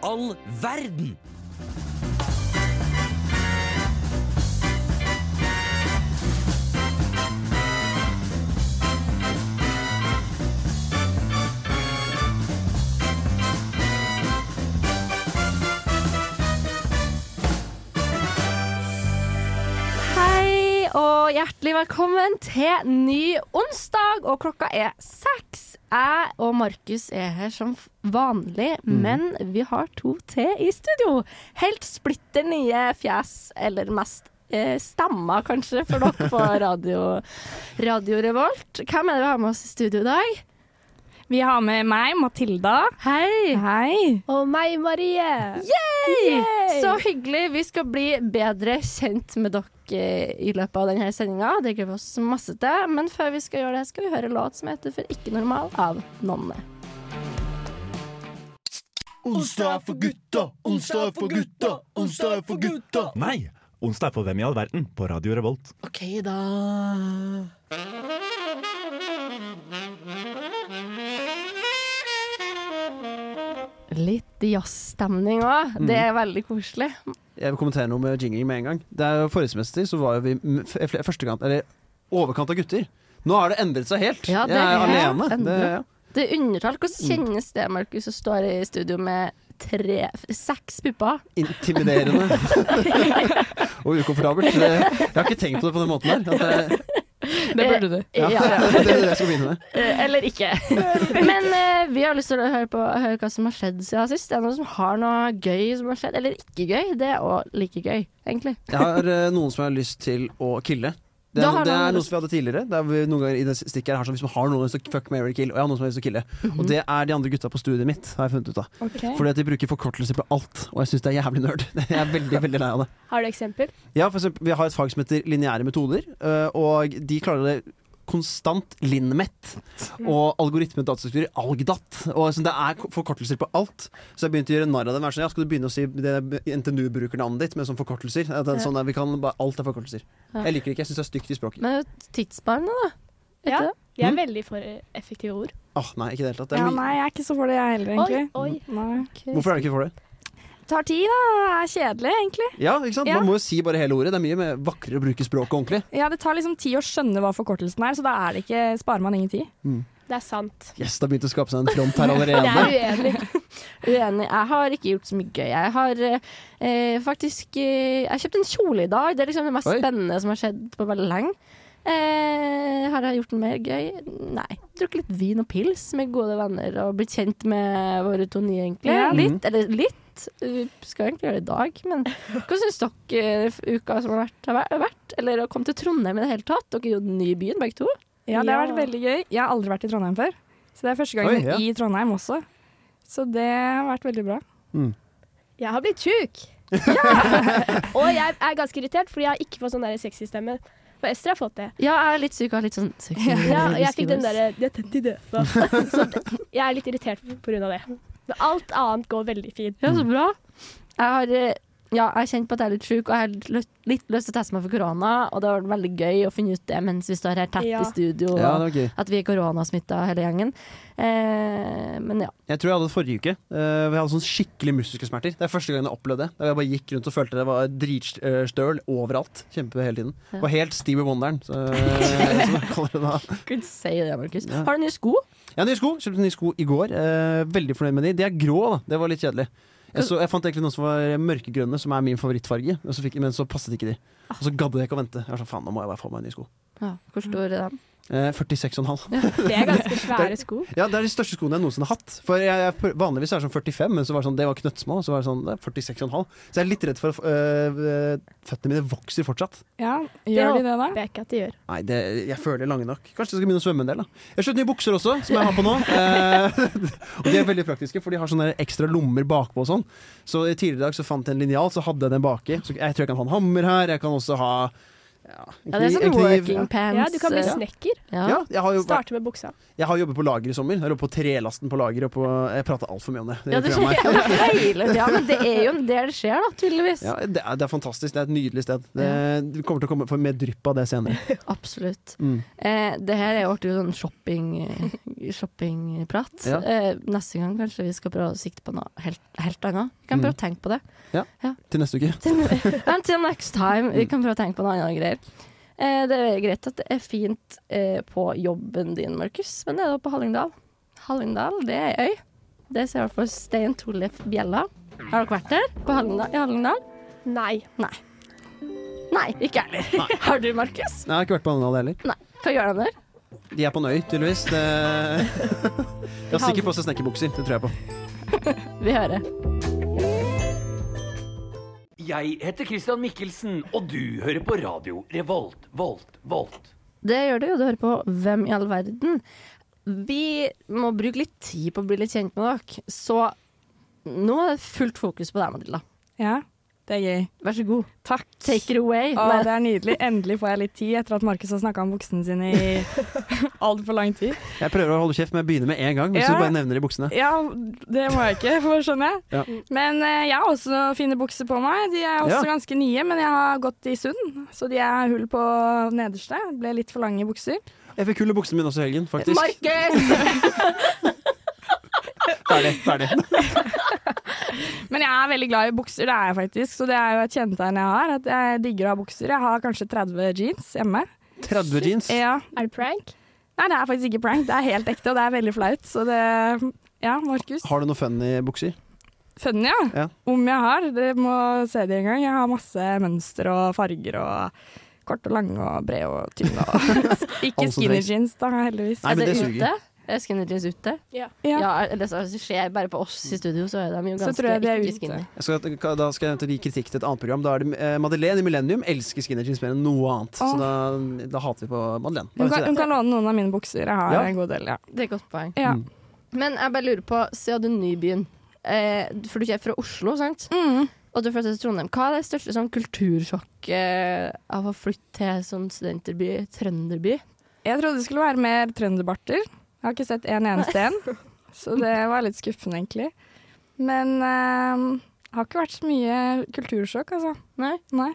all verden? Hei og hjertelig velkommen til ny onsdag, og klokka er seks. Jeg og Markus er her som f- vanlig, Mhm. men vi har to til i studio. Helt splitter nye fjes, eller mest eh, stemmer kanskje, for dere på radio, radio Revolt. Hvem er det vi har med oss i studio i dag? Vi har med meg, Matilda. Hei! Hei. Og meg, Marie. Yay! Så hyggelig. Vi skal bli bedre kjent med dere i løpet av denne sendinga. Det gleder vi oss masse til. Men før vi skal gjøre det, skal vi høre en låt som heter 'For ikke normal' av Nonne. Onsdag er for gutta, onsdag er for gutta, onsdag er for gutta. Nei! Onsdag er på Hvem i all verden på Radio Revolt. Ok, da. Litt jazzstemning òg. Det er veldig koselig. Jeg vil kommentere noe med jingling med en gang. Det er jo Forrige semester så var jo vi m- f- fl- første gang, eller overkant av gutter. Nå har det endret seg helt. Ja, det jeg er er alene. helt Det, endret. Det er undertalt. Hvordan kjennes det, Markus, å stå her i studio med tre, seks pupper? intimiderende og ukomfortabelt. Det, jeg har ikke tenkt på det på den måten her. At det, Det burde du. ja, det er det jeg skal begynne med. Eh, Eller ikke. Men eh, vi har lyst til å høre, på, høre hva som har skjedd siden sist. Er det noen som har noe gøy som har skjedd? Eller ikke gøy? Det er òg like gøy, egentlig. Jeg har eh, noen som jeg har lyst til å kille. Det Da er, har det man er lyst- noe som vi hadde tidligere. Det er vi noen ganger i det stikket her har sånn, Hvis man har noen som fuck, marry, kill, og jeg har noen som jeg har lyst til å kille. Mhm. Og det er de andre gutta på studiet mitt, har jeg funnet ut av. Fordi at de bruker forkortelser på alt, og jeg syns det er jævlig nerd. Jeg er veldig, veldig lei av det. Har du eksempel? Ja, for eksempel, vi har et fag som heter lineære metoder, øh, og de klarer det konstant linmet og algoritmedatastrukturer, algdat. Og sånn, det er ko- forkortelser på alt. Så jeg begynte å gjøre narr av dem. Jeg er Sånn, ja, skal du begynne å si det NTNU-brukernavnet ditt med sånne forkortelser? At det er sånn, ja, vi kan bare, alt er forkortelser. Ja. Jeg liker det ikke. Jeg syns det er stygt i språket. Men det er jo tidsbarnet, da. Vet Ja. du det? De er Mm. veldig for eh, effektive ord. Åh, nei, ikke i det hele tatt. Det Ja, er mye. nei, jeg er ikke så for det, jeg heller, Oi, egentlig. oi. Nei. Hvorfor er det ikke for det? Tar tid, da. Er kjedelig, egentlig. Ja, ikke sant? Ja. Man må jo si bare hele ordet. Det er mye mer vakrere å bruke språket ordentlig. Ja, Det tar liksom tid å skjønne hva forkortelsen er, så da er det ikke, sparer man ingen tid. Det er sant. Yes, det har begynt å skape seg en front her Jeg allerede. er uenig. Uenig. Jeg har ikke gjort så mye gøy. Jeg har eh, eh, faktisk eh, Jeg kjøpte en kjole i dag. Det er liksom det mest Oi. spennende som har skjedd på veldig lenge. Eh, har jeg gjort noe mer gøy? Nei. Drukket litt vin og pils med gode venner og blitt kjent med våre to nye, egentlig. Ja. Litt, eller litt. Vi skal egentlig gjøre det i dag, men hva syns dere eh, uka som har vært, har væ- vært? Eller å komme til Trondheim i det hele tatt? Dere er jo ny i byen, begge to. Ja, Det Ja. har vært veldig gøy. Jeg har aldri vært i Trondheim før. Så det er første Oi, gangen ja. i Trondheim også. Så det har vært veldig bra. Jeg har blitt sjuk. Og jeg er ganske irritert, fordi jeg har ikke fått sånn der sexystemme. For Ester har fått det. Ja, jeg er litt syk og har litt sånn Ja, og jeg fikk den derre De er tett i det. Så jeg er litt irritert på grunn av det. Men alt annet går veldig fint. Ja, så bra. Mm. Jeg har eh, ja, jeg har kjent på at jeg er litt sjuk, og jeg har litt, litt lyst til å teste meg for korona. Og det har vært veldig gøy å finne ut det mens vi står her tett Ja. i studio. Ja, det og var gøy. At vi er koronasmitta hele gjengen. Eh, men ja. Jeg tror jeg hadde det forrige uke. Uh, jeg hadde sånn skikkelig muskelsmerter. Det er første gangen jeg opplevde det. Da Jeg bare gikk rundt og følte det var dritstøl overalt. Kjempe hele tiden. Ja. Var helt Stevie Wonderen, så, som jeg kaller det da. Gud, si det, Markus. Ja. Har du nye sko? Jeg har nye sko. Kjøpte nye sko i går. Eh, veldig fornøyd med de. De er grå, da. Det var litt kjedelig. Jeg, så, jeg fant egentlig noen som var mørkegrønne, som er min favorittfarge, og så fikk, men så passet ikke de. Og så gadde jeg ikke å vente. Jeg var sånn, faen, nå må jeg bare få meg nye sko. Ja, hvor stor er den? Eh, 46,5. Det er ganske svære sko. Ja, det er de største skoene jeg noensinne har hatt. For jeg, jeg, Vanligvis er det sånn 45, men så var det sånn, det var knøttsmå. Så var det sånn det er 46,5. Så jeg er litt redd for at øh, føttene mine vokser fortsatt. Ja, Gjør de det, da? håper jeg ikke at de gjør. Nei, det, jeg føler lange nok. Kanskje jeg skal begynne å svømme en del, da. Jeg har kjøpt nye bukser også, som jeg har på nå. Eh, og de er veldig praktiske, for de har sånne ekstra lommer bakpå og sånn. Så tidligere i dag så fant jeg en linjal, så hadde jeg den baki. Så jeg tror jeg kan ha en hammer her. Jeg kan også ha Ja, det er sånn working pants. Ja, du kan bli eh, snekker. ja. Ja, jeg har jo vært- Starte med buksa. jeg har jobbet på lager i sommer. Jeg lå på trelasten på lager. Og på, jeg prata altfor mye om det. i Ja, det skjer programmet her. hele tida, men det er jo der det skjer, da, tydeligvis. Ja, det, er, det er fantastisk. Det er et nydelig sted. Det, du kommer til å komme for mer drypp av det senere. Absolutt. Mm. Eh, det her er jo artig sånn shopping, shoppingprat. Ja. Eh, neste gang kanskje vi skal prøve å sikte på noe helt, helt annet. Vi kan prøve å Mm. tenke på det. Til neste uke. Until next time. Mm. Vi kan prøve å tenke på noe annet greier. Eh, det er greit at det er fint eh, på jobben din, Markus, men det er da på Hallingdal. Hallingdal, det er ei øy. Det ser i hvert fall Stein Tollef Bjella. Har dere vært der? På Hallingdal? I Hallingdal? Nei. Nei, ikke jeg heller. Har du, Markus? Nei, Jeg har ikke vært på Hallingdal heller. Nei. Hva gjør de der? De er på en øy, tydeligvis. Det... De har sikkert på seg snekkerbukser. Det tror jeg på. Vi hører. Jeg heter Christian Mikkelsen, og du hører på radio Revolt, Volt, Volt. Det gjør det jo. Du hører på Hvem i all verden. Vi må bruke litt tid på å bli litt kjent med dere, så nå er det fullt fokus på deg, Matilda. Ja, det er gøy. Vær så god. Takk. Take it away. Å, Nei, det er nydelig. Endelig får jeg litt tid etter at Markus har snakka om buksene sine i altfor lang tid. Jeg prøver å holde kjeft, men jeg begynner med en gang. Hvis Ja. du bare nevner de buksene Ja, det må jeg ikke, for skjønner jeg. Ja. Men eh, jeg har også fine bukser på meg. De er også Ja. ganske nye, men jeg har gått i sund, så de er hull på nederste. Ble litt for lange bukser. Jeg fikk hull i buksene mine også i helgen, faktisk. Markus! Ferdig. ferdig Men jeg er veldig glad i bukser, det er jeg faktisk, så det er jo et kjennetegn jeg har. At jeg digger å ha bukser. Jeg har kanskje 30 jeans hjemme. 30 jeans. Ja. Er det prank? Nei, det er faktisk ikke prank. Det er helt ekte, og det er veldig flaut. Så det Ja, Markus. Har du noe funny bukser? Funny, ja. Ja. Om jeg har. Dere må se det en gang. Jeg har masse mønster og farger og kort og lange og brede og tynne. Og ikke Alle som skinny trengs. jeans, da, heldigvis. Nei, Altså, Er men det det ute? suger. Er skinny jeans ute? Ja, Ja. eller så altså, det skjer bare på oss i studio, så er de jo Så ganske tror jeg de er ikke ute. skinny. Jeg skal, da skal jeg eventuelt gi kritikk til et annet program. Da er det eh, Madeleine i Millennium elsker skinner jeans mer enn noe annet. Så Åh. da, da hater vi på Madeleine. Da vet Hun kan, vi hun det. kan låne noen av mine bukser. Jeg har Ja. en god del, ja. Det er et godt poeng. ja. Mm. Men jeg bare lurer på, siden du er ny i byen, eh, for du er fra Oslo, sant? Mm. Og du flyttet til Trondheim. Hva er det største sånn, kultursjokk eh, av å flytte til sånn studenterby, trønderby? Jeg trodde det skulle være mer trønderbarter. Jeg har ikke sett en eneste en. Så det var litt skuffende, egentlig. Men eh, det har ikke vært så mye kultursjokk, altså. Nei? Nei.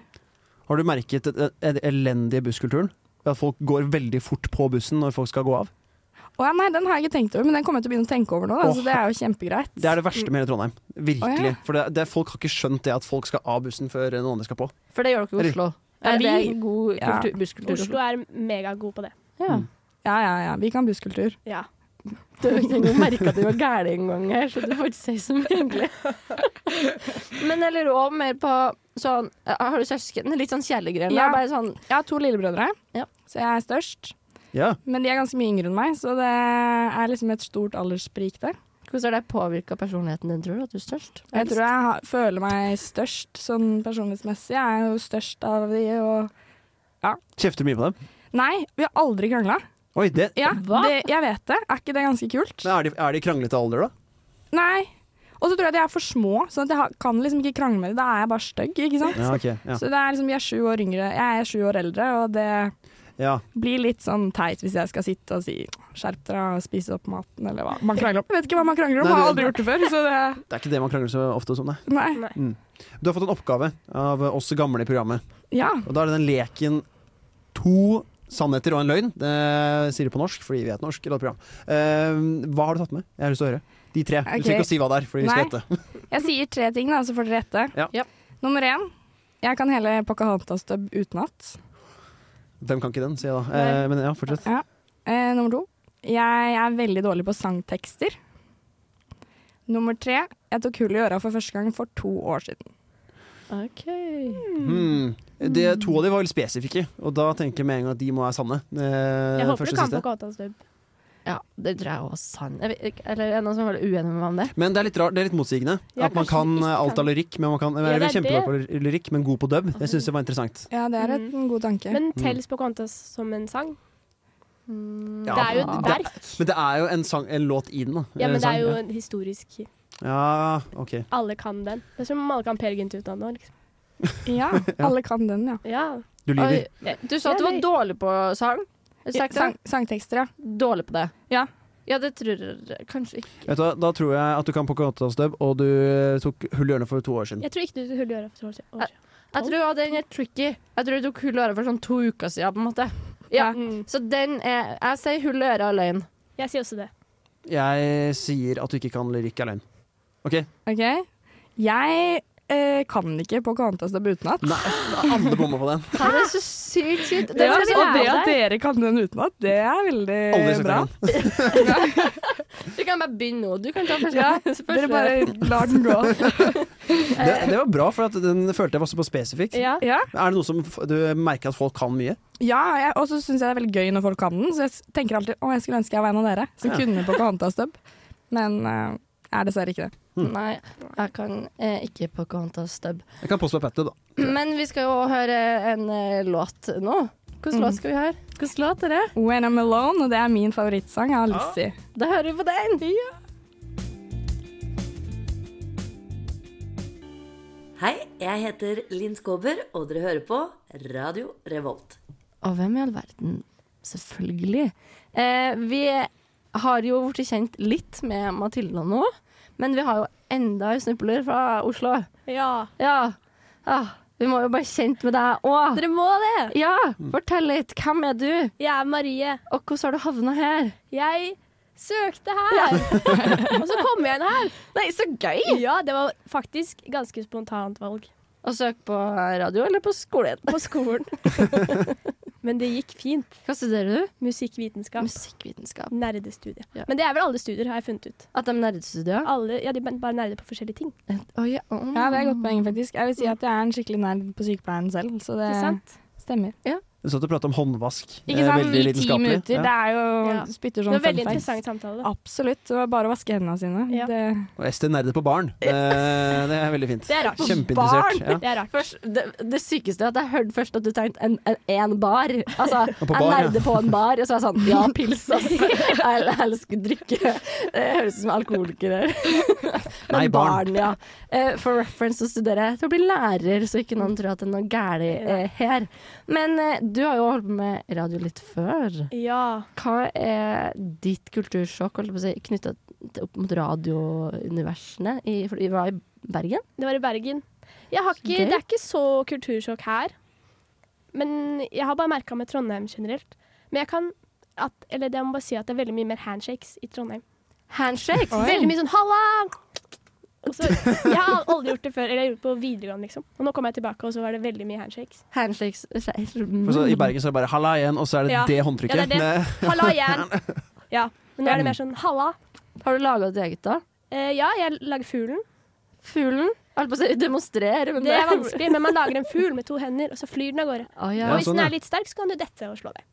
Har du merket den- den elendige busskulturen? At folk går veldig fort på bussen når folk skal gå av. Å ja, nei, den har jeg ikke tenkt over, men den kommer jeg til å begynne å tenke over nå. Da, Åh. så det er jo kjempegreit. Det er det verste med hele Trondheim. Virkelig. Åh, Mm. ja. For det, det, folk har ikke skjønt det at folk skal av bussen før noen andre skal på. For det gjør dere i Eller- Oslo. Ja, Er det vi- god Ja. kultur, busskultur? i Oslo er megagod på det. Ja. Ja, ja, ja. Vi kan busskultur. Ja. Du har ikke engang merka at du var gæren en gang her, så du får ikke si så mye, egentlig. Men jeg lurer òg mer på sånn eh, Har du søsken? Litt sånn kjærliggreier. Ja. Ja. Bare sånn Jeg har to lillebrødre, Ja. så jeg er størst. Ja. Men de er ganske mye yngre enn meg, så det er liksom et stort alderssprik der. Hvordan har det påvirka personligheten din, tror du? At du er størst? Jeg tror jeg har, føler meg størst sånn personlighetsmessig. Jeg er jo størst av de og Kjefter du mye på dem? Nei, vi har aldri krangla. Oi, det, Ja, Hva? det, jeg vet det. Er ikke det ganske kult? men er de, er de i kranglete alder, da? Nei. Og så tror jeg de er for små, sånn at jeg har- kan liksom ikke krangle med dem. Da er jeg bare stygg, ikke sant. Ja, ok. Ja. Så det er liksom, vi er sju år yngre. Jeg er sju år eldre, og det ja. blir litt sånn teit hvis jeg skal sitte og si 'skjerp dere og spise opp maten', eller hva man krangler om. Jeg vet ikke hva man krangler om, Nei, jeg det- har aldri gjort det før. Så det, Det er ikke det man krangler så ofte som, nei. nei. Du har fått en oppgave av oss gamle i programmet. Ja. Og da er det den leken To sannheter og en løgn. Det sier det på norsk, fordi vi er et norsk radioprogram. Eh, hva har du tatt med? Jeg har lyst til å høre. De tre. Du Ok. trenger ikke å si hva det er, fordi vi skal Nei. gjette. Jeg sier tre ting, da, så får dere gjette. Ja. Ja. Nummer én. Jeg kan hele Pocahontas-dubb utenat. Hvem kan ikke den, sier jeg da. Eh, men ja, fortsett. Eh, nummer to. Jeg er veldig dårlig på sangtekster. Nummer tre. Jeg tok hull i øra for første gang for to år siden. OK. Mm. Hmm. Det, to av de var veldig spesifikke, og da tenker jeg med en gang at de må være sanne. Eh, Jeg håper første og du kan siste. på Kåtanstubb. Ja, det tror jeg òg er sant. Jeg vet ikke- Eller er det noen som er veldig uenig med meg om det? Men det er litt rart, det er litt motsigende. Ja, at man kanskje kan ikke eh, alt kan. av lyrikk, men man kan Ja, være det er kjempedårlig på lyrikk, men god på dub. Det syns jeg var interessant. Ja, det er et- en god tanke. Men Mm. telles Pocahontas som en sang? Ja, det er jo et det- verk. Men det er jo en, sang, en låt i den, da. Ja, Eh, men det sang, er jo en historisk Ja, OK. Alle kan den. Det er som om alle kan Per Gynt utenat nå, liksom. ja, alle kan den, ja. Ja. Du lyver. Oi, eh, du sa at du var Jeg- dårlig på sang. Sang, Sang, sangtekster, ja. Dårlig på det. Ja. Ja, det tror jeg kanskje ikke. Vet du, hva, da tror jeg at du kan Pocahontas dub, og du eh, tok hull i hjørnet for to år siden. Jeg tror ikke du hull i øra for tolv år siden. Jeg tror ja, den er tricky. Jeg tror jeg tok hull i øra for sånn to uker siden, på en måte. Ja. Mm. Så den er Jeg sier hull i øra alene. Jeg sier også det. Jeg sier at du ikke kan lyrikk alene. OK? OK. Jeg eh, kan ikke Pocahontas dub utenat. Nei, alle bommer på den. Hæ? Det er så sykt sykt. Det Den er skal vi så- og det lære at deg. dere kan den utenat, det er Eh, Aldri veldig sett bra. den. Du kan bare begynne nå. Du kan ta første. Ja, første. Dere bare lar den gå. Det, det var bra, for at den følte jeg var såpass spesifikk. ja. Ja, Er det noe som f- du merker at folk kan mye? ja jeg- og så syns jeg det er veldig gøy når folk kan den, så jeg s- tenker alltid å, jeg skulle ønske jeg var en av dere som Ja. kunne Pocahontas dub, men eh, er dessverre ikke det. Hm. Nei, jeg kan eh, ikke Pocahontas stubb. Jeg kan påstå Petter, da. Men vi skal jo høre en eh, låt nå. Hvilken låt skal vi høre? Mhm. Hvilken låt er det? When I'm Alone, og det er min favorittsang av Lizzie. Da hører vi på den. Hei, jeg heter Linn Skåber, og dere hører på Radio Revolt. Og hvem i all verden? Selvfølgelig. Eh, vi har jo blitt kjent litt med Matilda nå, men vi har jo enda ei snupler fra Oslo. Ja. Ja. Ah, vi må jo bare kjent med deg òg. Dere må det! Ja, fortell litt. Hvem er du, Jeg er Marie. og hvordan har du havna her? Jeg søkte her, og så kom jeg inn her. Nei, så gøy! Ja, det var faktisk ganske spontant valg Å søke på radio eller på skolen? på skolen. Men det gikk fint. Hva studerer du? Musikkvitenskap. Musikkvitenskap. Nerdestudier. Ja. Men det er vel alle studier, har jeg funnet ut. At de nerdstuderer? Alle, ja, De er bare nerder på forskjellige ting. Å, ja. Å. Ja, det er et godt poeng, faktisk. Jeg vil si at jeg er en skikkelig nerd på sykepleien selv, så Eh, Ikke det sant? stemmer. Du satt og pratet om håndvask. Ikke Eh, sant? veldig I ti lidenskapelig. minutter. Det Ja. er jo Ja. spytter Det sånn var veldig fun facts. interessant samtale. Ah, da. Absolutt. Det var bare å vaske hendene sine. Ja. Det, Og Ester nerdet på barn. Eh, Det er veldig fint. Det er rart. Kjempeinteressert. Ja. Det er rart. Først, det, det sykeste er at jeg hørte først at du tenkte en, en, en bar. Altså, på bar, jeg ja. lærte på en bar, og så er jeg sånn Ja, pils, ass. Jeg el- elsker drikke. Det høres ut som alkoholiker. Nei, barn. ja. Eh, For reference så studerer jeg til å bli lærer, så ikke noen tror at det er noe galt eh, her. Men eh, du har jo holdt på med radio litt før. Ja. Hva er ditt kultursjokk si, knytta opp mot radiouniversene? I, for vi var i Bergen? Det var i Bergen. Jeg har ikke, Gøy. det er ikke så kultursjokk her. Men jeg har bare merka med Trondheim generelt. Men jeg kan at, eller jeg må bare si at det er veldig mye mer handshakes i Trondheim. Handshakes? Veldig mye sånn 'halla'! Og så, jeg har aldri gjort det før. Eller jeg har gjort det på videregående, liksom. Og nå kom jeg tilbake, og så var det veldig mye handshakes. Handshakes For så I Bergen så er det bare 'halla igjen', og så er det Ja. det Ja, håndtrykket. det er det. Nei. Halla igjen! Ja. Men nå er det mer sånn 'halla'. Har du laga ditt eget, da? Eh, ja, jeg lager fuglen. Fuglen? Jeg holdt på å si demonstrere, men Det er vanskelig, men man lager en fugl med to hender, og så flyr den av gårde. Å Ja, ja. Og hvis sånn, den ja. er litt sterk, så kan du dette og slå deg.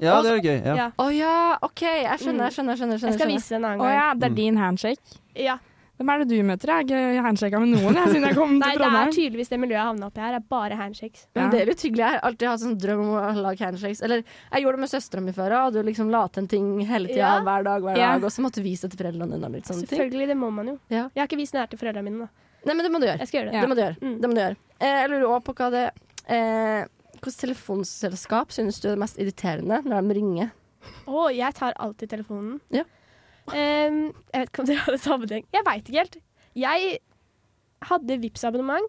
Ja, det er gøy. Ja. Ja. Å ja, OK. Jeg skjønner, jeg skjønner. skjønner, skjønner. Jeg skal vise det en annen å gang. ja, det er din handshake. Ja. Hvem er det du møter? Jeg har ikke handshaka med noen jeg, siden jeg kom Nei, til det er Trondheim. tydeligvis det miljøet jeg havna oppi her, er bare handshakes. Men det er litt hyggelig. Jeg har alltid hatt sånn drøm om å lage handshakes. Eller jeg gjorde det med søstera mi før, og du liksom la til en ting hele tida, Ja. hver dag, hver Ja. dag, og så måtte du vise det til foreldrene dine. og Litt sånne ting. Selvfølgelig, det må man jo. Ja. Jeg har ikke vist den her til foreldrene mine, da. Nei, men det må du gjøre. Jeg skal gjøre det. Det må du gjøre. Mm. Det må du gjøre. Eh, jeg lurer også på hva det eh, Hvilket telefonselskap synes du er det mest irriterende når de ringer? Å, jeg tar alltid telefonen. Ja. Ehm, jeg vet ikke om dere har det sammenheng. Jeg veit ikke helt. Jeg hadde Vipps abonnement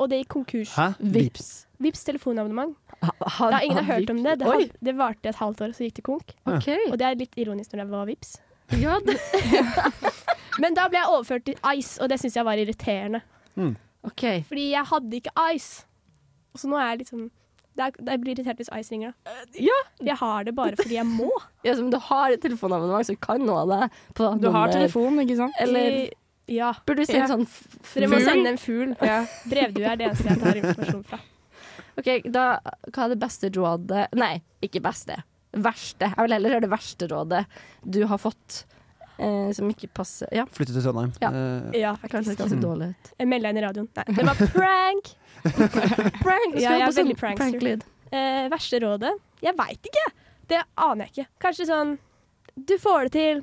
og det gikk konkurs. Hæ? Vips. Vipps telefonabonnement. Ha, ha, Da, ingen har hørt om det. Det, Oi, had, det varte et halvt år, så gikk det konk. ok. Og det er litt ironisk når det var Vipps. Ja, det, Men da ble jeg overført til Ice, og det syns jeg var irriterende. ok. Fordi jeg hadde ikke Ice. Og så nå er jeg litt sånn det er, Jeg blir irritert hvis Ice ringer, da. ja. Jeg har det bare fordi jeg må. Ja, som du har et telefonabonnement, så kan nå det. På Du har nummer. telefon, ikke sant? Eller- Ja. Burde du sende Ja. sånn Dere må Fugl? sende en fugl. ja. Brevdue er det eneste jeg tar informasjon fra. Ok, da Hva er det beste rådet Nei, ikke beste. Verste. Jeg vil heller høre det verste rådet du har fått, eh, som ikke passer Ja, Flytte til Trondheim. Ja. Eh, Ja, kanskje det skal se dårlig ut. Jeg melder deg inn i radioen. Nei, det var prank! Prank! Ja, skal jeg på er sånn veldig prankster. pranklyd. Eh, verste rådet? Jeg veit ikke. Det aner jeg ikke. Kanskje sånn Du får det til.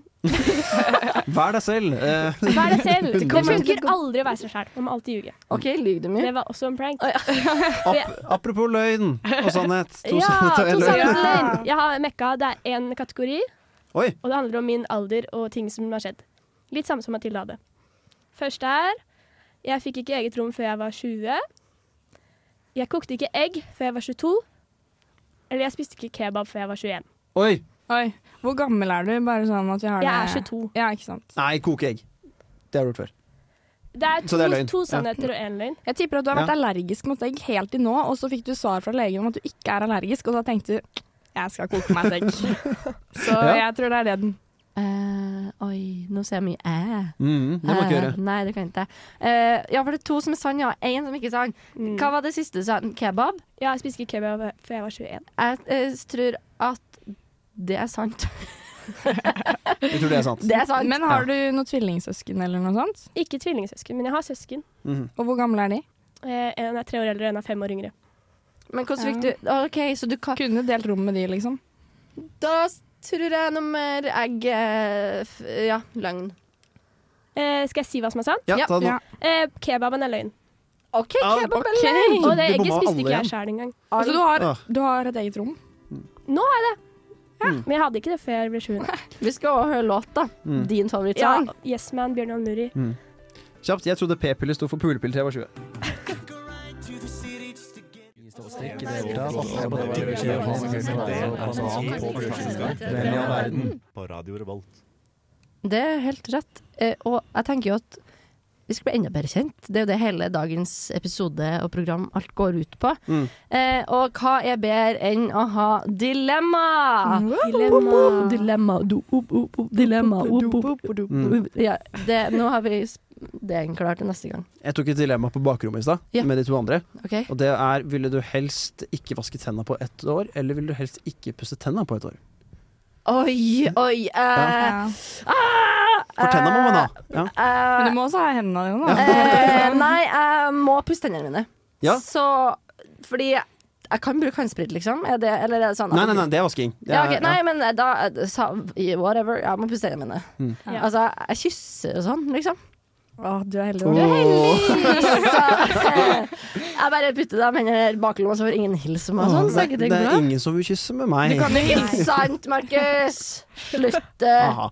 Vær deg selv. eh, Vær deg selv. Det Det kommer- funker aldri å være seg selv. Man må alltid ljuge. OK, lyg du mye? Det var også en prank. ap apropos løgn og sannhet. To ja, sannheter og en to løgn. sanne løgn. løgn. Jeg har mekka. Det er én kategori, Oi. og det handler om min alder og ting som har skjedd. Litt samme som Mathilde hadde. Første er jeg fikk ikke eget rom før jeg var 20. Jeg kokte ikke egg før jeg var 22. Eller jeg spiste ikke kebab før jeg var 21. Oi. Oi, hvor gammel er du? Bare sånn at vi har Jeg er det 22. Ja, ikke sant. Nei, koke egg. Det har du gjort før. Det er Så to, det er løgn. to sannheter og én løgn. Jeg tipper at du har vært Ja. allergisk mot egg helt til nå, og så fikk du svar fra legen om at du ikke er allergisk, og da tenkte du jeg skal koke meg et egg. Så Ja. jeg tror det er det den. Eh, oi, nå ser jeg mye æ. Mm, det må ikke Eh, gjøre. Nei, det kan jeg ikke. Eh, ja, var det to som sang, ja. Én som ikke sang. Mm. Hva var det siste du sa? Kebab? Ja, jeg spiste ikke kebab før jeg var 21. Jeg eh, tror at det er sant. Jeg tror det er sant. Det er sant. Men har du noen tvillingsøsken eller noe sånt? Ikke tvillingsøsken, men jeg har søsken. Mhm. Og hvor gamle er de? Eh, En er tre år eldre, og en er fem år yngre. Men hvordan fikk du OK, så du kan Kunne delt rom med de, liksom. Da s- tror jeg nummer egg eh, f Ja, løgn. Eh, Skal jeg si hva som er sant? Ja, Ja, ta den nå. ja. Eh, Kebaben er løgn. OK, Ja, kebab ok. eller løgn? Og det Du egget bomma spiste ikke alle jeg igjen. sjøl engang. Så Altså, du har, Ah. du har et eget rom? Nå har jeg det. Men jeg hadde ikke det før jeg ble 20. Vi skal også høre låt, da. Mm. Din favorittsang. Ja, yes Man, Bjørn Almuri. Kjapt. Jeg trodde p-piller sto for pulepille til jeg var 20. altså På Radio Revolt. Det er helt rett. Eh, og jeg tenker jo at vi skal bli enda bedre kjent. Det er jo det hele dagens episode og program alt går ut på. Mm. Eh, og hva er bedre enn å ha dilemma? Dilemma. Dilemma. Do, opp, opp, opp, dilemma. Opp, opp, opp, opp. Mm. Ja, det, nå har vi sp- Det er en klar til neste gang. Jeg tok et dilemma på bakrommet i stad Ja. med de to andre. OK? Og det er ville du helst ikke vaske tenna på ett år, eller ville du helst ikke pusse tenna på ett år? Oi, oi. Eh, Ja. For tenna må man ha. Ja. Men eh, du må også ha hendene dine, da. eh, nei, jeg må pusse tennene mine. Ja. Så Fordi jeg, jeg kan bruke håndsprit, liksom. Er det, eller er det sånn at- Nei, nei, nei, det er vasking. Det Ja, er- ok. Nei, men eh, da sa, Whatever. Jeg må pusse tennene mine. Mm. Ja. Altså, jeg kysser og sånn, liksom. Å, du er heldig. da. Åh. Så, eh, jeg bare putter dem hendene her bak lomma, så får ingen hilse meg og sånn. Så Nei, er ikke det det er bra? ingen som vil kysse med meg. Du kan jo hilse. Ikke sant, Markus? Slutt. eh. Aha.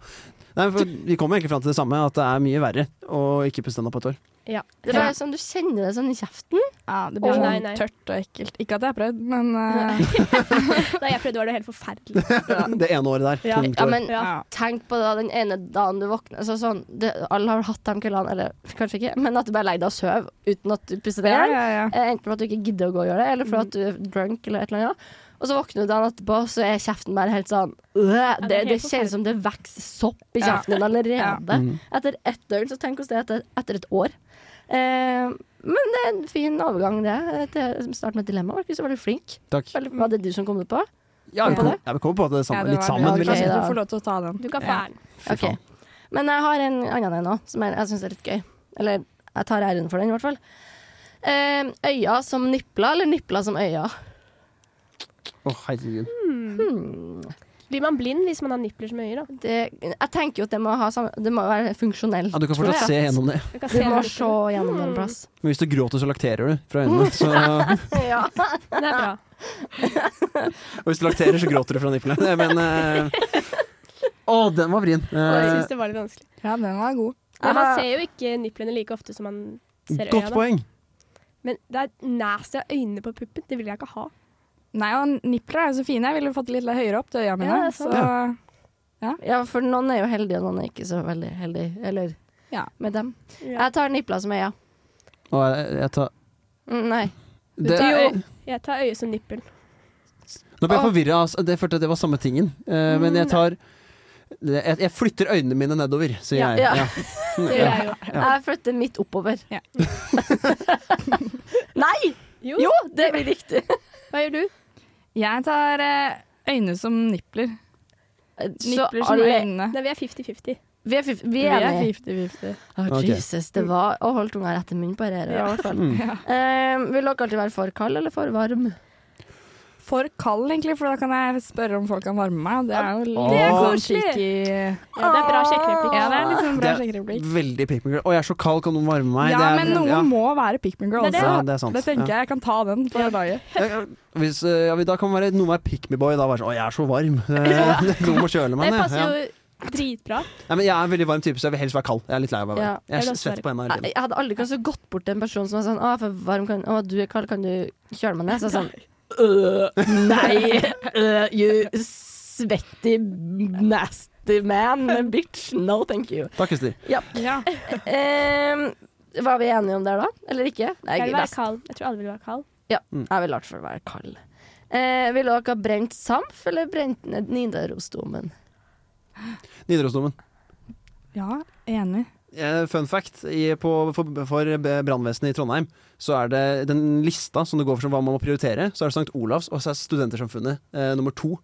Nei, men for, vi kommer egentlig fram til det samme, at det er mye verre å ikke pusse tenna på et år. Ja. Det er bare sånn, Du kjenner det sånn i kjeften. Ja, det blir Å, nei, sånn nei. tørt og ekkelt. Ikke at jeg har prøvd, men eh, Da jeg prøvde, var det helt forferdelig. Det ene året der. Ja. Tungt Ja, år. men Ja. Tenk på da, den ene dagen du våkner så sånn, det, Alle har vel hatt de kveldene, eller kanskje ikke, men at du bare legger deg og sover uten at du pusser ja, tennene. ja, ja. Eh, Enten fordi at du ikke gidder å gå og gjøre det, eller fordi at du er drunk. eller et eller annet. Og så våkner du dagen etterpå, så er kjeften bare helt sånn øh, det er Det, helt det kjennes som det vokser sopp i kjeften din allerede. Mm. Etter ett døgn, så tenk oss det etter, etter et år. Eh, men det er en fin overgang, det. Til start med et dilemma. Markus, du var litt flink. Takk. Veldig- Var det du som kom det på? Ja, vi på kom, det? ja, vi kom på at det er Ja, sammen, det litt var sammen. bra. vil jeg Ok, si. Du får lov til å ta den. Du kan få Ja. æren. Fy Ok. faen. Men jeg har en annen en òg, som jeg, jeg syns er litt gøy. Eller jeg tar æren for den, i hvert fall. Eh, øya som nipla, eller nipla som øya? Å, herregud. Hmm. Blir man blind hvis man har nipler som øyer, da? det, jeg tenker jo at det må, ha samme, det må jo være funksjonell. Ja, du kan fortsatt tror se jeg. gjennom det. Du kan Du se må nipler. se gjennom en plass. Men hvis du gråter, så lakterer du fra øynene. Så, og Ja. Det er bra. hvis du lakterer, så gråter du fra nipplene. Nei, Men eh, Å, den var vrien. Jeg Eh, Ah. syns det var litt vanskelig. Ja, den var god. Men man ser jo ikke niplene like ofte som man ser Eh, godt øya. Da. poeng. Men det er nasty å ha øynene på puppen. Det vil jeg ikke ha. Nei, og nipler er jo så fine. Jeg ville fått det litt høyere opp til øya mine. Ja, så sant. ja, for noen er jo heldige, og noen er ikke så veldig heldige. Eller Ja. med dem. Ja. Jeg tar nipla som øya. Og jeg, jeg tar Mm, nei. det, tar- jo. Jeg tar øyet som nippel. Nå ble jeg forvirra. Altså. Det følte jeg det var samme tingen. Eh, men jeg tar det- jeg, jeg flytter øynene mine nedover, sier Ja. jeg. Ja. Det gjør jeg jo. Jeg flytter midt oppover. Ja. nei! Jo. Jo, det blir riktig. Hva gjør du? Jeg tar eh, øyne som nipler. Så Nipler som alle øynene. Nei, vi er 50-50. Vi er, fif- vi Vi er er enige. 50-50. Å, Ok. Jesus, det var å holde tunga rett i munnen på dette. her, i hvert fall. Mm. Eh, vil dere alltid være for kald eller for varm? for kald, egentlig, for da kan jeg spørre om folk kan varme meg. Det er jo litt det er sånn koselig. cheeky- Ja, det er bra sjekkereplikk. Ja, det er litt sånn bra Det er sjekkereplikk. Veldig pick me girl. Å, jeg er så kald, kan noen varme meg? Ja, Det er- men noen ja. må være pick me girl Det er det. også. Ja, det er sant. Det tenker jeg. Jeg kan ta den for laget. Ja, ja, Hvis, eh, ja, da kan være noe med pick me boy. Da være sånn Å, jeg er så varm. Eh, Noen må kjøle meg Det ned. passer Ja. jo dritbra. Nei, men jeg er en veldig varm type, så jeg vil helst være kald. Jeg er litt lei av å være Ja, varm. jeg vil Jeg også svetter på hendene Jeg hele tiden. jeg hadde aldri kanskje gått bort til en person som var sånn 'Å, jeg er for varm, kan, å, du er kald, kan du kjøle meg ned?' Så jeg sånn «Øh, Nei, øh, you svetty nasty man, bitch. No, thank you. Takk, Christer. Ja. Ehm, var vi enige om det her da? Eller ikke? Nei, Jeg vil gidda. være kald. Jeg tror alle vil være kald. Jeg vil i hvert fall være kald. Eh, vil dere ha brent Samf eller brent ned Nidarosdomen? Nidarosdomen. ja, enig. Eh, Fun fact i, på, for, for brannvesenet i Trondheim, så er det den lista som det går for som hva man må prioritere, så er det St. Olavs og så er Studentersamfunnet eh, nummer to.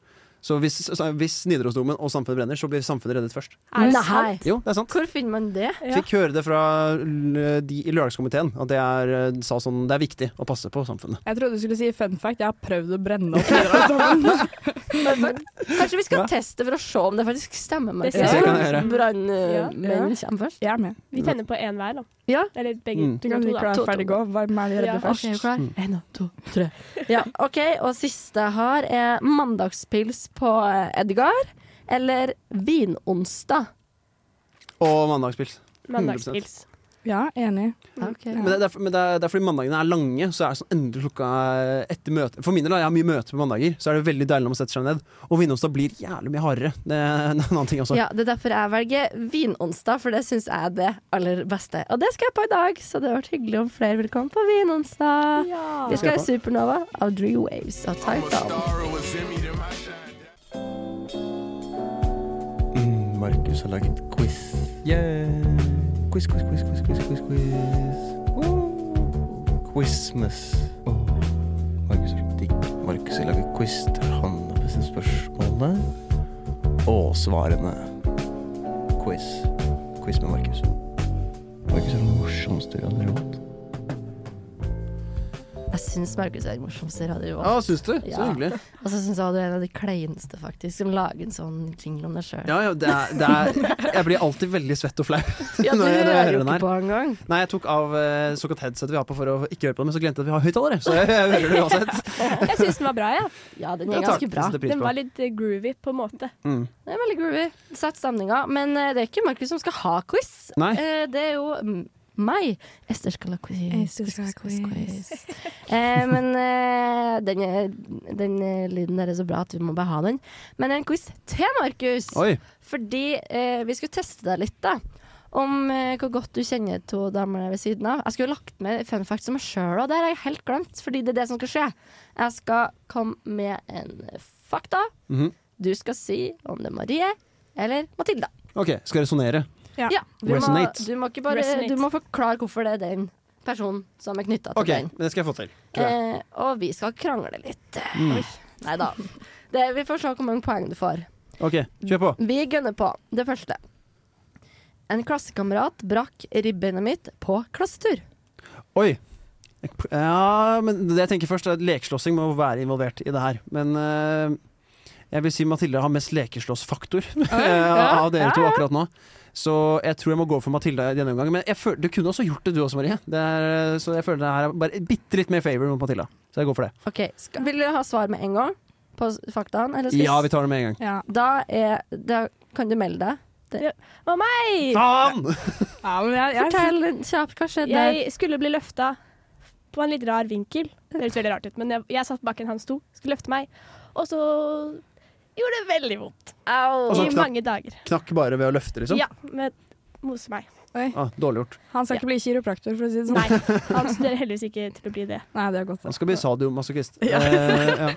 Så hvis, så, hvis Nidarosdomen og samfunnet brenner, så blir samfunnet reddet først. Er det Nei. sant? Jo, det er sant. Hvor finner man det? Ja. Fikk høre det fra l- de i lørdagskomiteen, at det er, eh, sa sånn, det er viktig å passe på samfunnet. Jeg trodde du skulle si fun fact. Jeg har prøvd å brenne opp Nidarosdomen. Kanskje vi skal Ja. teste for å se om det faktisk stemmer? Det Markus? ser jeg kan gjøre. Brannmenn Ja. kommer først. Jeg er med. Vi tenner på én hver, da. Ja. Eller begge Mm. Du kan to, like da. være ferdig gå. Hvem er de redde Ja. først? Ok, klar? En, to, tre. Ja, ok, og siste jeg har er mandagspils på eh, Edgar, eller vinonsdag. Og mandagspils. Mandagspils. Ja, enig. Men, det, er derfor- men det, er, det er fordi mandagene er lange, så er det sånn endelig klokka etter møte For min del, da, jeg har mye møter på mandager, så er det veldig deilig når man setter seg ned. Og vinnerstad blir jævlig mye hardere. Det er en annen ting også. Ja, det er derfor jeg velger vinonsdag, for det syns jeg er det aller beste. Og det skal jeg på i dag, så det har vært hyggelig om flere vil komme på vinonsdag. Vi skal ha Supernova av Drew Waves og Titan. Markus har laget quiz. Yeah. Quiz, quiz, quiz, quiz, quiz, quiz, quiz. Woo. Oh. Quizmas. Åh, Markus er så digg. Markus har laget quiz der han har bestemt spørsmålene og svarene. Quiz. Quiz med Markus. Markus er den morsomste i Radio Revolt. Jeg syns Markus er den morsomste i Radio Revolt. Ja, syns du? Så Ja. hyggelig. Og så syns jeg du er en av de kleineste, faktisk, som lager en sånn jingle om deg sjøl. Ja, ja, det er, det er, jeg blir alltid veldig svett og flau Ja, du når jeg, hører når jeg jo hører den ikke her. på engang. Nei, jeg tok av eh, såkalt headsetet vi har på for å ikke høre på det, men så glemte jeg at vi har høyttalere. Så jeg, jeg hører det uansett. Jeg syns den var bra, jeg. Ja, den Ja, er takk. ganske bra. Setter pris Den på. var litt eh, groovy, på en måte. Mm. Det er veldig groovy. Satt stemninga. Men eh, det er ikke Markus som skal ha quiz. Nei. Eh, Det er jo mm, meg. Ester skal ha quiz. Ester skal ha quiz. Eh, men eh, den, er- den eh, lyden der er så bra at vi må bare ha den. Men en quiz til Markus. Oi. Fordi eh, vi skulle teste deg litt, da. Om eh, hvor godt du kjenner to damer ved siden av. Jeg skulle lagt med fun facts om meg sjøl, og det har jeg helt glemt. Fordi det er det som skal skje. Jeg skal komme med en fakta. Mhm. Du skal si om det er Marie eller Matilda. OK, skal jeg resonnere? Ja. Ja, du, må, Resonate. du, må ikke bare, Resonate. du må forklare hvorfor det er den personen som er knytta til OK, den. men det skal jeg få til. tror jeg. Eh, og vi skal krangle litt. Mm. Nei da. Vi får se hvor mange poeng du får. OK, kjør på. Vi gønner på det første. En klassekamerat brakk ribbeina mitt på klassetur. Oi. Ja, men det jeg tenker først er at lekeslåssing må være involvert i det her. Men eh, jeg vil si Mathilde har mest lekeslåssfaktor eh, av dere to akkurat nå. Så jeg tror jeg må gå for Mathilde i denne omgangen. Men jeg føler, du kunne også gjort det du også, Marie. Det er, så jeg føler det her er bare bitte litt mer favor mot Mathilde. Så jeg går for det. Ok, skal, Vil du ha svar med en gang på s- faktaen? Eller skal vi s- Ja, vi tar det med en gang. Ja. da, er, da kan du melde deg. Hei! Faen! ja, men jeg, jeg, Fortell kjapt hva skjedde. Jeg skulle bli løfta på en litt rar vinkel. Det høres veldig rart ut, men jeg, jeg satt bak en han sto, skulle løfte meg, og så gjorde det veldig vondt. Og så I knapp- mange dager. Knakk bare ved å løfte, liksom? Ja, men mose meg. Ah, dårlig gjort. Han skal ikke bli kiropraktor, for å si det sånn. Nei, han studerer heldigvis ikke til å bli det. Nei, det er godt. Han da. skal bli sadomasochist. Eh, ja.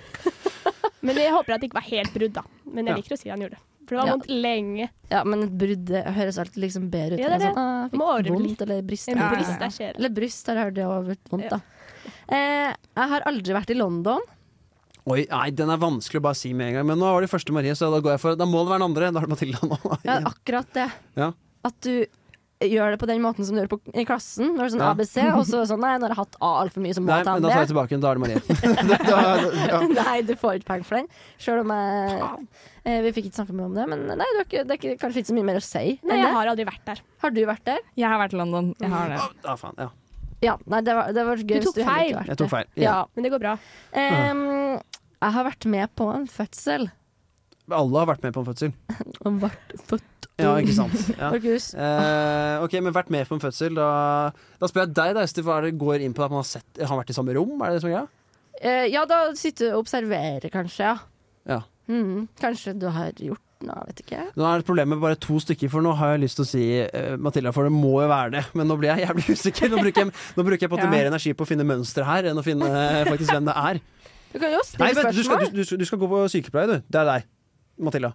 Men jeg håper at det ikke var helt brudd, da. Men Ja. jeg liker å si han gjorde det. For det var Ja. vondt lenge. Ja, men et brudd det høres alltid liksom bedre ut. Ja, det er enn det. Sånn, ah, fikk Må ordre vondt, litt. eller bryst. En Ja, ja, ja. brist der skjer. Eller bryst, har jeg hørt det har vært vondt, da. Eh, jeg har aldri vært i London. Oi, nei, den er vanskelig å bare si med en gang. Men nå var det første Marie, så da går jeg for Da må det være den andre. Da er det Mathilda nå. Ja, akkurat det. Ja. At du gjør det på den måten som du gjør på, i klassen. Når det er sånn Ja. ABC, og så er det sånn Nei, nå har jeg hatt A altfor mye, så må Nei, jeg ta men en da tar jeg B. tilbake igjen. Da er det Marie. da, ja. Nei, du får ikke penger for den. Sjøl om jeg eh, Vi fikk ikke snakket mye om det, men nei, du har ikke, det er ikke, kanskje ikke så mye mer å si. Nei, enn jeg det. har aldri vært der. har du vært der? Jeg har vært i London. Jeg har Mm. det. Ah, faen, ja. Ja. Nei, det var, det var gøy Du tok hvis du heller feil. ikke har vært Jeg tok der. feil. Ja. Men det går bra. Em, jeg har vært med på en fødsel. Alle har vært med på en fødsel. Og vært født. Ja, ikke sant. Ja. Markus. Eh, ok, men vært med på en fødsel. Da, da spør jeg deg, da, Ester. Hva er det går inn på at man har, sett, har han vært i samme rom? Er det det som er greia? Eh, ja, da sitter du og observerer, kanskje. Ja. Ja. Mm, kanskje du har gjort noe, vet ikke. Nå er det problemet med bare to stykker, for nå har jeg lyst til å si eh, Matilda, for det må jo være det. Men nå blir jeg jævlig usikker. Nå bruker jeg, nå bruker jeg på en måte Ja. mer energi på å finne mønster her enn å finne eh, faktisk hvem det er. Du kan jo Nei, stille vent, du skal, spørsmål. du, du, skal- du skal gå på sykepleie, du. Det er deg. Matilda.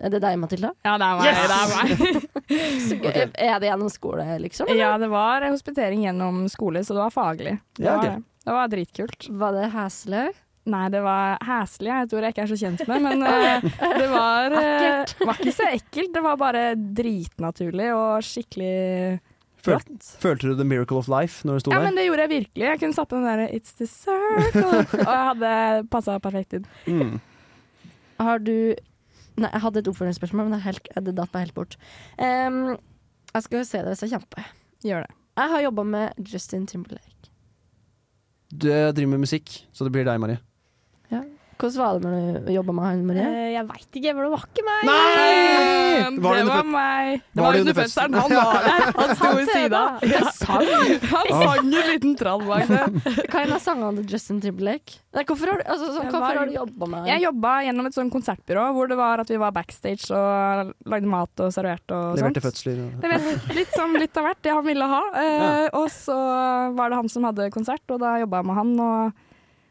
Er det deg, Matilda? Ja, det er meg. Det er meg. Er- Er det gjennom skole, liksom? Ja, det var hospitering gjennom skole, så det var faglig. Det Ja, var, ok. det. det var dritkult. Var det heslig? Nei, det var heslig, et ord jeg ikke er så kjent med, men eh, det var eh, Var ikke så ekkelt, det var bare dritnaturlig og skikkelig Føl- rått. Følte du the miracle of life når du sto Ja, der? men det gjorde jeg virkelig. Jeg kunne satt på den derre 'It's the circle', og jeg hadde passa perfekt inn. Mm. Har du Nei, jeg hadde et oppfølgingsspørsmål, men det, er helt, det datt meg helt bort. Em, jeg skal se det hvis jeg kjemper. Gjør det. Jeg har jobba med Justin Timberlake. Du driver med musikk, så det blir deg, Marie. Hvordan var det når du jobba med han, Marie? Eh, jeg veit ikke, for det var ikke meg. Nei! Um, Det Var var, det under meg. Det Var var, det under under fødselen. Han var der. Han sto ved sida. Han sang Han sang en liten trall bak det. Hva er en av sangene til Justin Timberlake? Nei, hvorfor har du, altså, sånn, Jeg hvorfor var- har du jobba med Jeg han? jobba gjennom et sånn konsertbyrå hvor det var at vi var backstage og lagde mat og serverte og Leverte sånt. fødsler. Det var litt, som litt av hvert, det han ville ha. Eh, Og så var det han som hadde konsert, og da jobba jeg med han og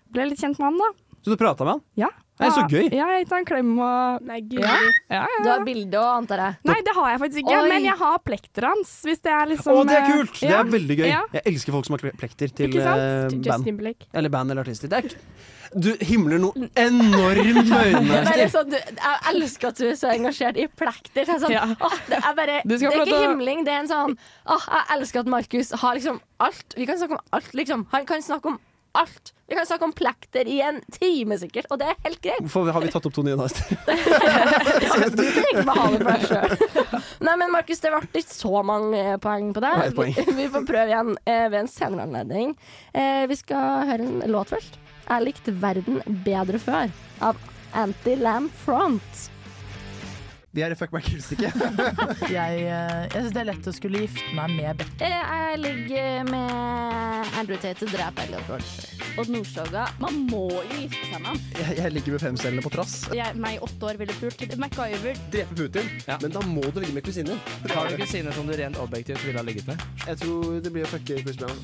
ble litt kjent med han, da. Så du prata med han? Ja. Nei, så gøy. Ja, jeg ga han en klem og Nei, gud. Ja. ja, Du ja. har bilde òg, antar jeg. Nei, det har jeg faktisk ikke, Oi. men jeg har plekteret hans, hvis det er liksom Å, det er eh, kult! Det ja. er veldig gøy. Ja. Jeg elsker folk som har kle- plekter til Ikke sant? eh, Justin band. Timberlake. Eller band eller artister. Det er ikke Du himler noe enormt med øynene, Det er Ester. liksom, du, jeg elsker at du er så engasjert i plekter. Det er, sånn, Ja. åh, det er, bare, Du det er skal få lov ikke til å- himling, det er en sånn åh, Jeg elsker at Markus har liksom alt. Vi kan snakke om alt, liksom. Han kan snakke om alt. Vi kan snakke om plekter i en time, sikkert, og det er helt greit. Hvorfor har vi tatt opp to nye nå, Ester? Du trenger ikke behage det for deg sjøl. Nei, men Markus, det ble ikke så mange eh, poeng på Nei, et deg. poeng. Vi, vi får prøve igjen eh, ved en senere anledning. Eh, vi skal høre en låt først. Jeg likte 'Verden bedre før' av Anti-Lam Front. Vi er i fuck meg kunststykke. Jeg, eh, jeg syns det er lett å skulle gifte meg med Beck. Eh, Jeg ligger med Andrew Tate og dreper Elliot Rodger. Odd Nordstoga. Man må jo gifte seg med ham. Jeg, ligger med femcellene på trass. Jeg, meg i åtte år ville pult. MacGyver. Drepe Putin. Men da må du ligge med kusinen. Har du kusine som du rent objektivt ville ha ligget med? Jeg tror det blir å fucke Chris Brown.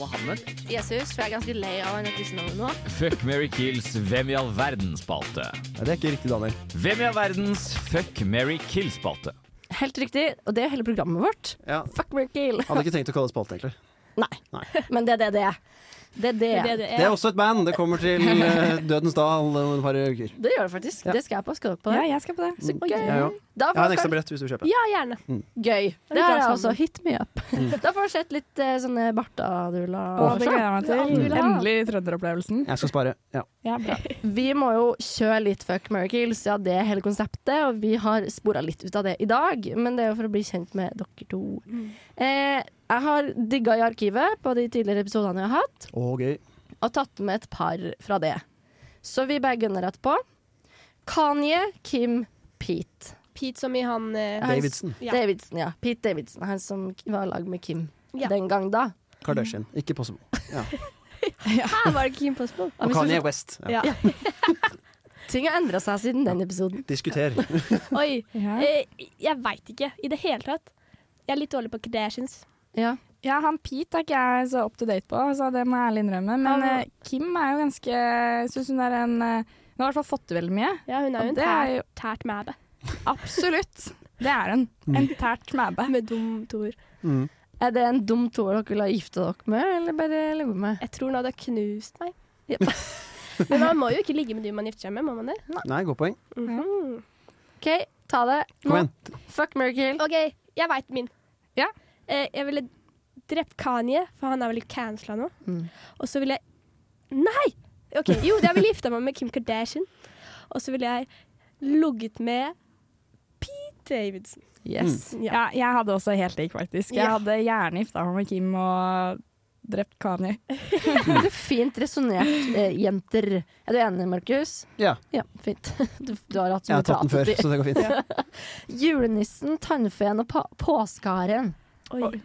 Jesus, for jeg er ganske lei av han kristendommen nå. Fuck Mary Kills Hvem i all verden-spalte. det er ikke riktig, Daniel. Hvem i all verdens Fuck Mary Kill-spalte. Helt riktig, og det er hele programmet vårt. Ja. Fuck Merkill. Hadde ikke tenkt å kalle det spalte, egentlig. Nei. Nei. Men det er det det er. Det er det. Det er det det Det er er. også et band. Det kommer til eh, Dødens dal om et par uker. Det gjør det faktisk. Ja. Det skal jeg på. Skal dere på Ja, det? jeg skal på det. Så gøy. Jeg òg. Da Jeg har en folk- ekstra billett hvis du kjøper. Ja, gjerne. Gøy. Vi Det altså drar har jeg også. sammen. Hit me up. Da får du sett litt eh, sånne bartaduller. Og og det sånn. gleder jeg Ja, meg du til. vil ha. Endelig trønderopplevelsen. Jeg skal spare. Ja. Ja, bra. Vi må jo kjøre litt Fuck Miracles, ja det er hele konseptet, og vi har spora litt ut av det i dag, men det er jo for å bli kjent med dere to. Eh, jeg har digga i arkivet på de tidligere episodene jeg har hatt, Å, gøy. og tatt med et par fra det. Så vi bare gunner rett på. Kanye, Kim, Pete. Pete som i han eh, Davidson. Ja. Davidson, ja. Pete Davidson, han som var i lag med Kim Ja. den gang da. Kardashian. Ikke possible. Ja. Her var det ikke Impossible. Og Kanye West. Ja. Ja. Ting har endra seg siden den episoden. Diskuter. Oi. Ja. Eh, jeg veit ikke i det hele tatt. Jeg er litt dårlig på Kardashians. Ja. Ja, han Pete er ikke jeg så up to date på, så det må jeg ærlig innrømme. Men Ja, men- eh, Kim er jo ganske Jeg syns hun er en eh, Hun har i hvert fall fått til veldig mye. Ja, hun er jo Og en det er tært, jo- tært mæbe. Absolutt. Det er hun. Mm. En tært mæbe. Med dum toer. Er det en dum toer dere ville ha gifta dere med, eller bare ligget med? Jeg tror hun hadde knust meg. Men man må jo ikke ligge med de man gifter seg med, må man det? Nei, godt poeng. Mhm. OK, ta det. Kom igjen. Fuck, marry, kill. OK, jeg veit min. Eh, jeg ville drept Kanye, for han er vel litt cancela nå. Mm. Og så ville jeg Nei! OK, jo, jeg ville gifta meg med Kim Kardashian. Og så ville jeg ligget med Pete Davidson. Yes. Mm. Ja, jeg hadde også helt lik, faktisk. Jeg Ja. hadde gjerne gifta meg med Kim og drept Kanye. Det er fint resonnert, eh, jenter. Er du enig, Markus? Ja. Ja, fint. Du, du har hatt så Jeg har mye tatt den prat. før, så det går fint. Julenissen, tannfeen og pa- påskeharen. Oi.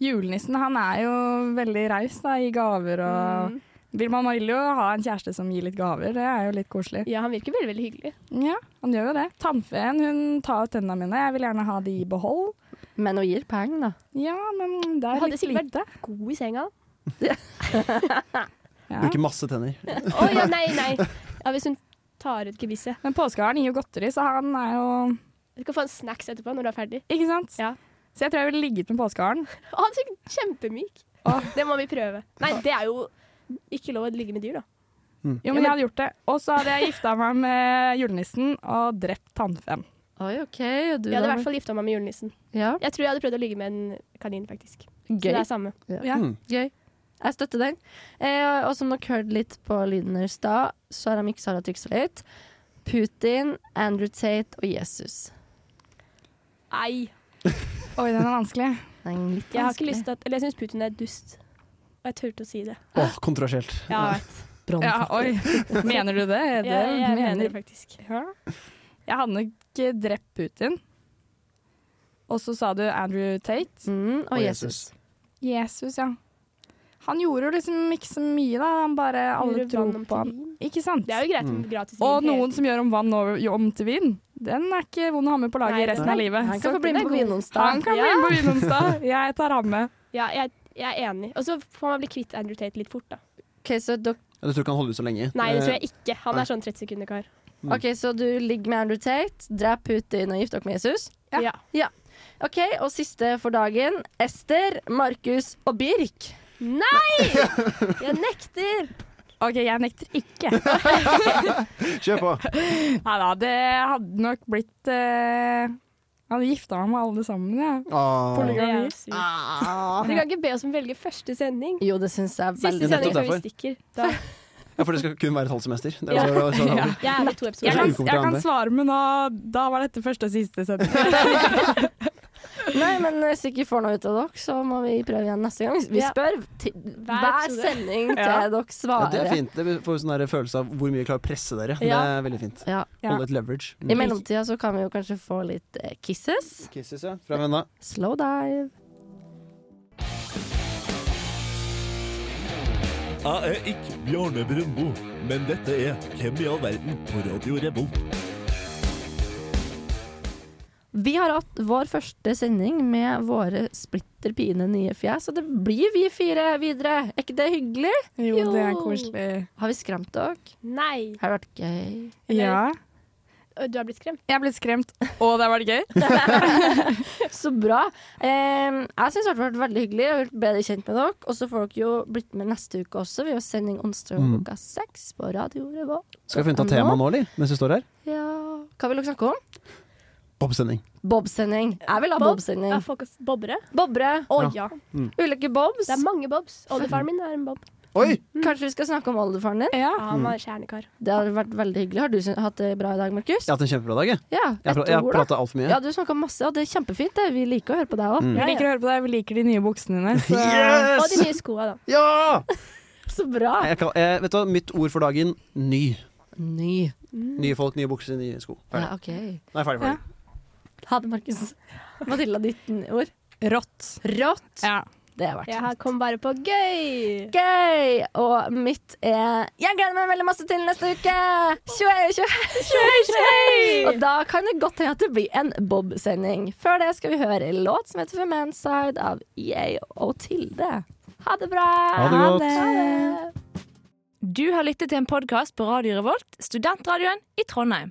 Julenissen han er jo veldig raus da, i gaver og Mm. Vilma vil jo ha en kjæreste som gir litt gaver, det er jo litt koselig. Ja, han virker veldig, veldig hyggelig. Ja, han gjør jo det. Tannfeen hun tar tennene mine, jeg vil gjerne ha de i behold. Men hun gir peng, da. Ja, men det Jeg er hadde litt sikkert lite. vært god i senga. Bruker masse tenner. Å ja, nei, nei. Ja, hvis hun tar ut gebisset. Men påskeharen gir jo godteri, så han er jo Du skal få en snacks etterpå når du er ferdig. Ikke sant? Ja. Så jeg tror jeg ville ligget med påskeharen. Å, han er sikkert kjempemyk. Det må vi prøve. Nei, det er jo ikke lov å ligge med dyr, da. Jo, men jeg hadde gjort det. Og så hadde jeg gifta meg med julenissen og drept tannfeen. Oi, OK. Du, Jeg hadde i da. hvert fall gifta meg med julenissen. ja. Jeg tror jeg hadde prøvd å ligge med en kanin, faktisk. Så Gøy. det er samme. Ja, Mm. Mm. gøy. Jeg støtter den. Eh, og som dere hørte litt på lyden her i stad, så har de ikke Sara triksa litt. Putin, Andrew Tate og Jesus. Nei. Oi, den er vanskelig. Det er litt Jeg har ikke vanskelig. lyst til at Eller jeg syns Putin er dust. Og jeg turte å si det. Åh, kontroversielt. Ja, jeg vet. Ja, oi. Mener du det? Jeg, Det jeg, mener det mener faktisk. Ja. Jeg hadde nok eh, drept Putin. Og så sa du Andrew Tate. Mm, og, Og Jesus. Jesus. Jesus, ja. Han gjorde liksom ikke så mye, da. Han bare alle Gjorde tror vann om på ham. til vin. Ikke sant? Det er jo greit med gratis Og vin. noen som gjør om vann over, om til vin. Den er ikke vond å ha med på laget Nei, i resten av livet. Han kan Så få bli med den er på god. Vinonsdag. Han kan bli Ja. med på Vinonsdag. Jeg tar ham med. Ja, jeg, jeg er enig. Og så får man bli kvitt Andrew Tate litt fort, da. Ok, så dere- Jeg tror ikke han holder ut så lenge. Nei, det Eh, tror jeg ikke. Han er sånn 30 sekunder-kar. ok, så du ligger med Andrew Tate, drep Putin og gift dere med Jesus? Ja. OK, og siste for dagen. Ester, Markus og Birk. Nei! Jeg nekter! OK, jeg nekter ikke. Kjør på. Nei da, det hadde nok blitt eh, Jeg hadde gifta meg med alle sammen, jeg. Ah. Det er Polygami. sykt. Dere kan ikke be oss om å velge første sending. Jo, det syns jeg er Siste veldig nettopp sending før vi derfor. stikker. Da. Ja, for det skal kun være et halvt semester. Det Ja. er så, så, så, Jeg er med to Jeg episoder. kan, Ukomfortabel. jeg kan svare, men da, da var dette første og siste sending. Nei, men hvis vi ikke får noe ut av dere, så må vi prøve igjen neste gang. Vi Ja. spør til Hver hver episode. sending til Ja. dere Ja, svarer. det er fint. Det får sånn der følelse av hvor mye vi klarer å presse dere. Ja. Det er veldig fint. Ja. Ja. Holde et leverage. Mm. I mellomtida så kan vi jo kanskje få litt eh, kisses. Kisses, ja. Fra venna. Slow dive. Jeg er ikke Bjarne Brumbo, men dette er Hvem i all verden på Radio Revolt. Vi har hatt vår første sending med våre splitter pine nye fjes, og det blir vi fire videre. Er ikke det hyggelig? Jo, det er Jo. koselig. Har vi skremt dere? Nei. Har det vært gøy? Ja. Ø, Du har blitt skremt. Jeg ble skremt, og det var det gøy. Så bra. Eh, jeg syns det har vært veldig hyggelig. Jeg har blitt bedre kjent med dere. Og så får dere jo blitt med neste uke også. Vi har sending onsdag Mm. klokka seks på Radio Revolt. Skal vi finne ut av temaet nå, eller? Mens vi står her? Ja. Hva vil dere snakke om? Bobsending. Bobsending. Jeg vil ha Bob? bobsending. Ja, folk er bobbere. Bobre. Å Ja. ja. Ulike bobs. Det er mange bobs. Oldefaren min er en bob. Oi! Kanskje vi skal snakke om oldefaren din? Ja, han var kjernekar. Det har vært veldig hyggelig. Har du syn- hatt det bra i dag, Markus? Jeg har hatt en kjempebra dag, jeg. Ja, Jeg har et pra- Jeg har ord, da. prata altfor mye. Mm. Ja, du snakka masse, og det er kjempefint. Det. Vi liker å høre på deg òg. Vi liker å høre på deg, vi liker de nye buksene dine. Så Og Yes! de nye skoa, da. Ja! Så bra. Nei, Jeg kan, eh, vet du hva, mitt ord for dagen ny. Ny. Nye folk, nye bukser, nye sko. Ferdig. Ja, OK. Nei, ferdig, ferdig. Ha det, Markus. Matilda, ditt ord. rått. Rått. Ja. Det har vært Jeg har- kom bare på gøy! gøy! Og mitt er Jeg gleder meg veldig masse til neste uke! Tjoei, tjoei, tjoei, tjoei! Og da kan det godt hende at det blir en Bob-sending. Før det skal vi høre en låt som heter Femanside av EA og Tilde. Ha det bra! Ha det godt. Du har lyttet til en podkast på Radio Revolt, studentradioen i Trondheim.